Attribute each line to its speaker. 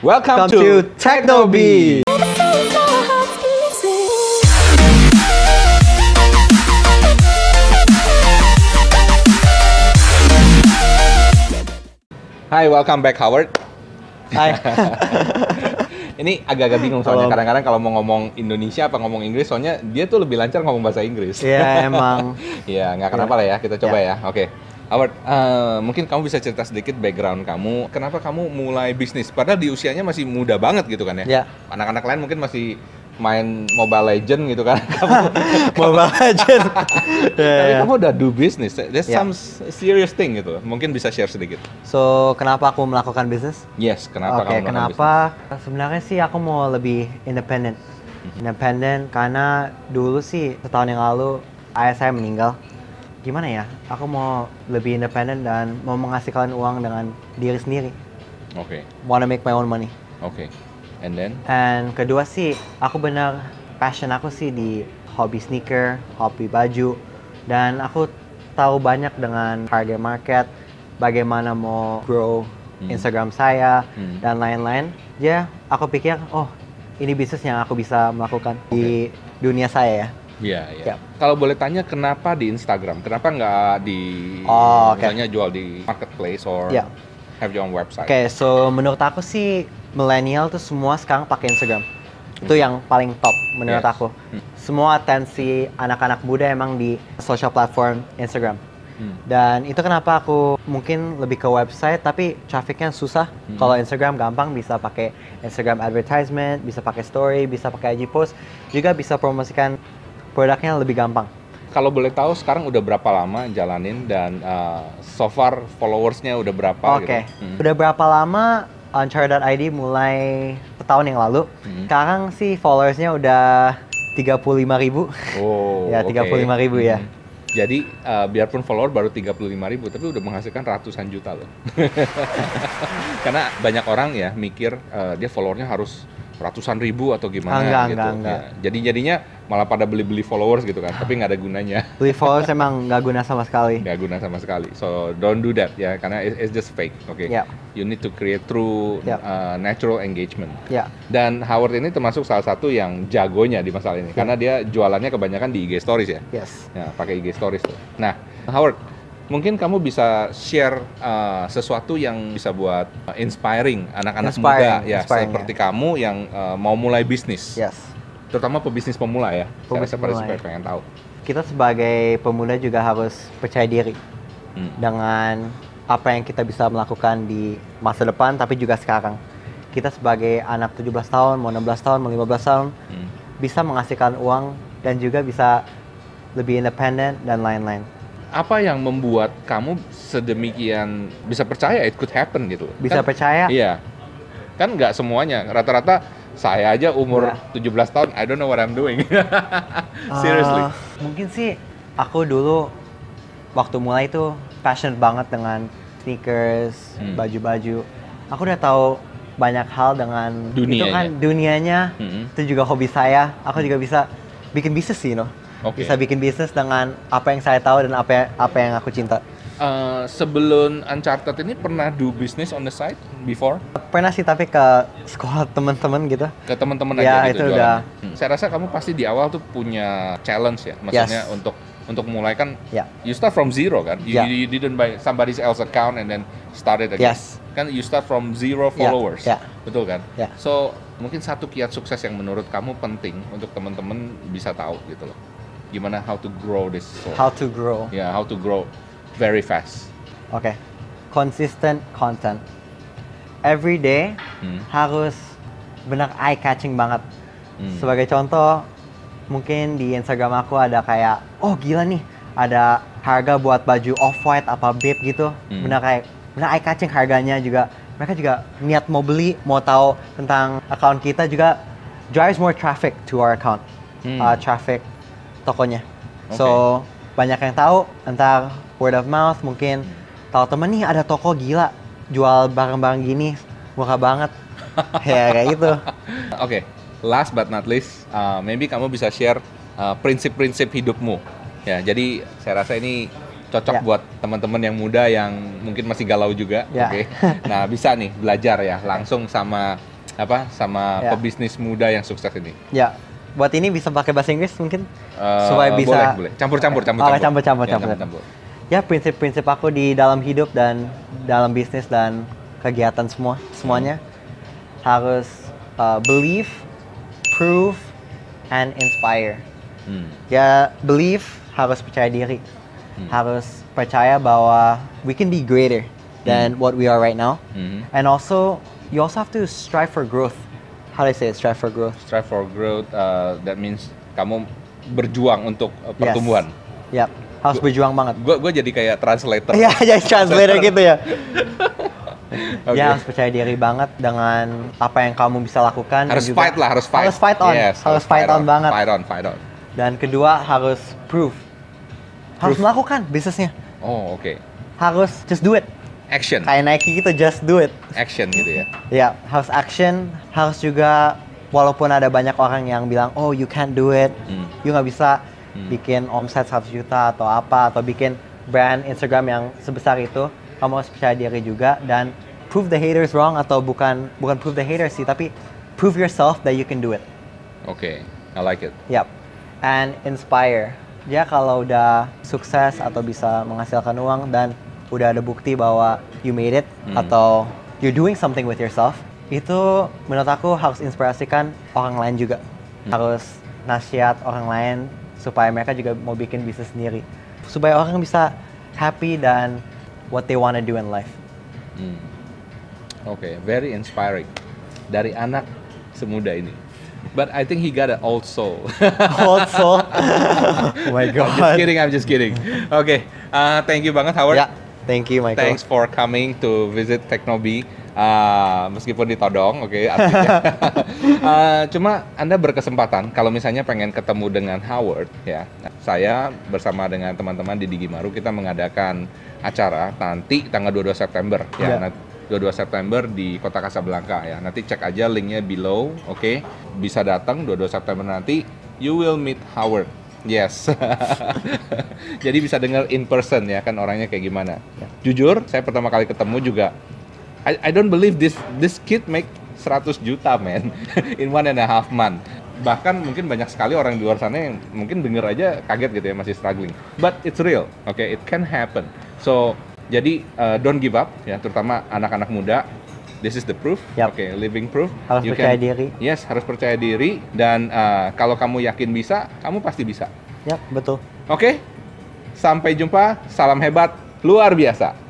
Speaker 1: Welcome,
Speaker 2: Welcome to
Speaker 1: to, Techno
Speaker 2: Technobee.
Speaker 1: Technobee. Hai, welcome back Howard.
Speaker 2: Hai.
Speaker 1: Ini agak-agak bingung soalnya
Speaker 2: Halo.
Speaker 1: kadang-kadang kalau mau ngomong Indonesia apa ngomong Inggris, soalnya dia tuh lebih lancar ngomong bahasa Inggris.
Speaker 2: Iya emang.
Speaker 1: Iya, nggak kenapa lah ya. Kita coba ya. Oke. Howard, eh, mungkin kamu bisa cerita sedikit background kamu. Kenapa kamu mulai bisnis? Padahal di usianya masih muda banget gitu kan ya.
Speaker 2: Iya.
Speaker 1: Anak-anak lain mungkin masih main Mobile Legend gitu kan. Kamu,
Speaker 2: Mobile Legend. Iya,
Speaker 1: tapi
Speaker 2: iya.
Speaker 1: kamu udah do bisnis. That's
Speaker 2: Iya.
Speaker 1: some serious thing gitu. Mungkin bisa share sedikit.
Speaker 2: So kenapa aku melakukan bisnis?
Speaker 1: Yes, kenapa
Speaker 2: Oke,
Speaker 1: kamu melakukan
Speaker 2: kenapa? Sebenarnya sih aku mau lebih independen.
Speaker 1: Mhm.
Speaker 2: Independen karena dulu sih setahun yang lalu ayah saya meninggal. Gimana ya? Aku mau lebih independen dan mau menghasilkan uang dengan diri sendiri.
Speaker 1: bisnis? Oke.
Speaker 2: Wanna make my own money.
Speaker 1: Oke. And then?
Speaker 2: And kedua sih, aku benar passion aku sih di hobi sneaker, hobi baju, dan aku tahu banyak dengan target market, bagaimana mau grow
Speaker 1: Hmm.
Speaker 2: Instagram saya
Speaker 1: Hmm.
Speaker 2: dan lain-lain. Ya, aku pikir, oh ini bisnis yang aku bisa melakukan di dunia saya ya.
Speaker 1: Iya, iya.
Speaker 2: Yap.
Speaker 1: Kalau boleh tanya kenapa di Instagram? Kenapa nggak di
Speaker 2: Oh, oke.
Speaker 1: misalnya jual di marketplace or
Speaker 2: Iya.
Speaker 1: have your own website?
Speaker 2: Oke, so menurut aku sih milenial tuh semua sekarang pakai Instagram. Itu yang paling top
Speaker 1: Yes.
Speaker 2: menurut
Speaker 1: Hmm.
Speaker 2: aku. Semua atensi anak-anak muda emang di social platform Instagram.
Speaker 1: Hmm.
Speaker 2: Dan itu kenapa aku mungkin lebih ke website tapi trafficnya susah.
Speaker 1: Hmm.
Speaker 2: Kalau Instagram gampang bisa pakai Instagram advertisement, bisa pakai story, bisa pakai IG post, juga bisa promosikan produknya lebih gampang.
Speaker 1: Kalau boleh tahu sekarang udah berapa lama jalanin dan uh, so far followersnya udah berapa?
Speaker 2: Oke.
Speaker 1: Gitu? Hmm.
Speaker 2: Udah berapa lama Uncharted.id mulai setahun yang lalu?
Speaker 1: Hmm.
Speaker 2: Sekarang sih followersnya udah 35.000 ribu.
Speaker 1: Oh,
Speaker 2: Ya, 35.000 ya.
Speaker 1: Hmm. Jadi uh, biarpun follower baru 35.000 ribu, tapi udah menghasilkan ratusan juta loh. Karena banyak orang ya mikir uh, dia followernya harus ratusan ribu atau gimana
Speaker 2: Ah, Enggak,
Speaker 1: gitu.
Speaker 2: enggak, enggak.
Speaker 1: Ya, Jadi jadinya malah pada beli-beli followers gitu kan, tapi nggak ada gunanya.
Speaker 2: Beli followers emang nggak guna sama sekali.
Speaker 1: nggak guna sama sekali. So don't do that ya, karena it- it's just fake. Oke,
Speaker 2: Yap.
Speaker 1: you need to create through
Speaker 2: Yap.
Speaker 1: uh, natural engagement.
Speaker 2: Ya,
Speaker 1: Dan Howard ini termasuk salah satu yang jagonya di masalah
Speaker 2: Ya.
Speaker 1: ini, karena dia jualannya kebanyakan di IG Stories ya.
Speaker 2: yes.
Speaker 1: Ya, pakai IG Stories tuh. Nah, Howard, mungkin kamu bisa share uh, sesuatu yang bisa buat uh, inspiring anak-anak muda
Speaker 2: Inspiring,
Speaker 1: ya,
Speaker 2: inspiring,
Speaker 1: seperti kamu yang uh, mau mulai bisnis,
Speaker 2: Yes.
Speaker 1: terutama pebisnis pemula ya.
Speaker 2: Pebisnis
Speaker 1: Saya rasa pada
Speaker 2: pemula,
Speaker 1: supaya
Speaker 2: ya.
Speaker 1: pengen tahu.
Speaker 2: Kita sebagai pemuda juga harus percaya diri
Speaker 1: Hmm.
Speaker 2: dengan apa yang kita bisa melakukan di masa depan tapi juga sekarang. Kita sebagai anak 17 tahun, mau 16 tahun, mau 15 tahun
Speaker 1: Hmm.
Speaker 2: bisa menghasilkan uang dan juga bisa lebih independen dan lain-lain.
Speaker 1: apa yang membuat kamu sedemikian bisa percaya it could happen gitu?
Speaker 2: Bisa
Speaker 1: Kan-
Speaker 2: percaya?
Speaker 1: Iya. Kan nggak semuanya. Rata-rata saya aja umur
Speaker 2: Iya.
Speaker 1: 17 tahun, I don't know what I'm doing. Seriously.
Speaker 2: Ah, mungkin sih aku dulu waktu mulai itu passionate banget dengan sneakers,
Speaker 1: Hmm.
Speaker 2: baju-baju. Aku udah tahu banyak hal dengan itu
Speaker 1: Dunianya. Hmm.
Speaker 2: kan dunianya.
Speaker 1: Mm-mm.
Speaker 2: Itu juga hobi saya. Aku juga bisa bikin bisnis sih, you know.
Speaker 1: Oke.
Speaker 2: Bisa bikin bisnis dengan apa yang saya tahu dan apa apa yang aku cinta.
Speaker 1: Eh, sebelum Uncharted ini pernah do business on the side before
Speaker 2: Pernah sih tapi ke sekolah teman-teman gitu.
Speaker 1: ke teman-teman
Speaker 2: Iya,
Speaker 1: aja gitu
Speaker 2: itu
Speaker 1: jualannya?
Speaker 2: udah.
Speaker 1: Hmm. Saya rasa kamu pasti di awal tuh punya challenge ya, maksudnya
Speaker 2: Yes.
Speaker 1: untuk untuk mulai kan
Speaker 2: Ya.
Speaker 1: you start from zero kan you,
Speaker 2: Yeah.
Speaker 1: you didn't buy somebody else account and then started again
Speaker 2: Yes. Ya,
Speaker 1: kan you start from zero followers
Speaker 2: Yeah.
Speaker 1: betul kan
Speaker 2: Yeah.
Speaker 1: so mungkin satu kiat sukses yang menurut kamu penting untuk teman-teman bisa tahu gitu loh gimana how to grow this so-
Speaker 2: How to grow.
Speaker 1: yeah how to grow very fast
Speaker 2: Oke. Consistent content. Every day
Speaker 1: Hmm.
Speaker 2: harus benar eye catching banget.
Speaker 1: Hmm.
Speaker 2: Sebagai contoh, mungkin di Instagram aku ada kayak, oh gila nih, ada harga buat baju off white apa babe gitu.
Speaker 1: Hmm.
Speaker 2: Benar kayak benar eye catching harganya juga. Mereka juga niat mau beli, mau tahu tentang account kita juga drives more traffic to our account.
Speaker 1: Hmm.
Speaker 2: Uh, traffic tokonya. So banyak yang tahu entar word of mouth mungkin tahu temen nih ada toko gila jual barang-barang gini murah banget ya kayak gitu
Speaker 1: Oke, last but not least, uh, maybe kamu bisa share uh, prinsip-prinsip hidupmu. Ya, jadi saya rasa ini cocok
Speaker 2: Ya.
Speaker 1: buat teman-teman yang muda yang mungkin masih galau juga.
Speaker 2: Ya.
Speaker 1: Oke, nah bisa nih belajar ya langsung sama apa sama
Speaker 2: Ya.
Speaker 1: pebisnis muda yang sukses ini.
Speaker 2: Ya, buat ini bisa pakai bahasa Inggris mungkin
Speaker 1: Eh,
Speaker 2: supaya bisa
Speaker 1: boleh, boleh. Campur-campur, campur-campur.
Speaker 2: Oke, campur-campur,
Speaker 1: Ya,
Speaker 2: campur-campur. Ya, prinsip-prinsip aku di dalam hidup dan dalam bisnis dan kegiatan semua semuanya
Speaker 1: Hmm.
Speaker 2: harus uh, believe, prove, and inspire.
Speaker 1: Hmm.
Speaker 2: Ya, believe harus percaya diri,
Speaker 1: Hmm.
Speaker 2: harus percaya bahwa we can be greater than
Speaker 1: Hmm.
Speaker 2: what we are right now,
Speaker 1: Mhm.
Speaker 2: and also you also have to strive for growth. How do I say it? Strive for growth.
Speaker 1: Strive for growth, uh, that means kamu berjuang untuk uh,
Speaker 2: Yes.
Speaker 1: pertumbuhan.
Speaker 2: Yap, harus berjuang banget.
Speaker 1: Gue gue jadi kayak translator.
Speaker 2: Iya, jadi translator gitu ya.
Speaker 1: Oke.
Speaker 2: Ya harus percaya diri banget dengan apa yang kamu bisa lakukan. dan
Speaker 1: Harus
Speaker 2: juga-
Speaker 1: fight lah, harus fight.
Speaker 2: Harus fight on,
Speaker 1: Yes,
Speaker 2: harus fight, on, banget.
Speaker 1: Fight on, fight on.
Speaker 2: Dan kedua harus prove, harus
Speaker 1: Prove.
Speaker 2: melakukan bisnisnya.
Speaker 1: Oh, oke.
Speaker 2: Harus just do it.
Speaker 1: Action.
Speaker 2: Kayak Nike gitu, just do it.
Speaker 1: Action gitu ya.
Speaker 2: Ya, harus action, harus juga walaupun ada banyak orang yang bilang, oh you can't do it,
Speaker 1: Hmm.
Speaker 2: you nggak bisa
Speaker 1: Hmm.
Speaker 2: bikin omset 100 juta atau apa, atau bikin brand Instagram yang sebesar itu, kamu harus percaya diri juga dan prove the haters wrong atau bukan bukan prove the haters sih, tapi prove yourself that you can do it.
Speaker 1: Oke, I like it.
Speaker 2: Yap. And inspire. Dia kalau udah sukses atau bisa menghasilkan uang dan udah ada bukti bahwa you made it
Speaker 1: Hmm.
Speaker 2: atau you're doing something with yourself, itu menurut aku harus inspirasikan orang lain juga.
Speaker 1: Hmm.
Speaker 2: Harus nasihat orang lain supaya mereka juga mau bikin bisnis sendiri. Supaya orang bisa happy dan what they wanna do in life.
Speaker 1: Hmm. Oke, very inspiring dari anak semuda ini. But I think he got an old soul.
Speaker 2: Also, oh my god.
Speaker 1: just kidding, I'm just kidding. Oke, uh, thank you banget Howard.
Speaker 2: Ya, thank you Michael.
Speaker 1: Thanks for coming to visit Teknobi. Ah, meskipun ditodong, oke artinya. Ah, cuma Anda berkesempatan kalau misalnya pengen ketemu dengan Howard ya. Saya bersama dengan teman-teman di Digimaru kita mengadakan acara nanti tanggal 22 September ya.
Speaker 2: Ya.
Speaker 1: Nah, 22 September di Kota Kasablanka ya. Nanti cek aja linknya below, oke? Bisa datang 22 September nanti. You will meet Howard. Yes. Jadi bisa dengar in person ya kan orangnya kayak gimana. Jujur, saya pertama kali ketemu juga I, I don't believe this this kid make 100 juta man in one and a half month. Bahkan mungkin banyak sekali orang di luar sana yang mungkin denger aja kaget gitu ya masih struggling. But it's real. Oke, it can happen. So jadi uh, don't give up ya terutama anak-anak muda. This is the proof.
Speaker 2: Yap.
Speaker 1: Oke, living proof.
Speaker 2: Harus percaya diri.
Speaker 1: Yes, harus percaya diri dan uh, kalau kamu yakin bisa, kamu pasti bisa.
Speaker 2: Yap, betul.
Speaker 1: Oke? Sampai jumpa. Salam hebat luar biasa.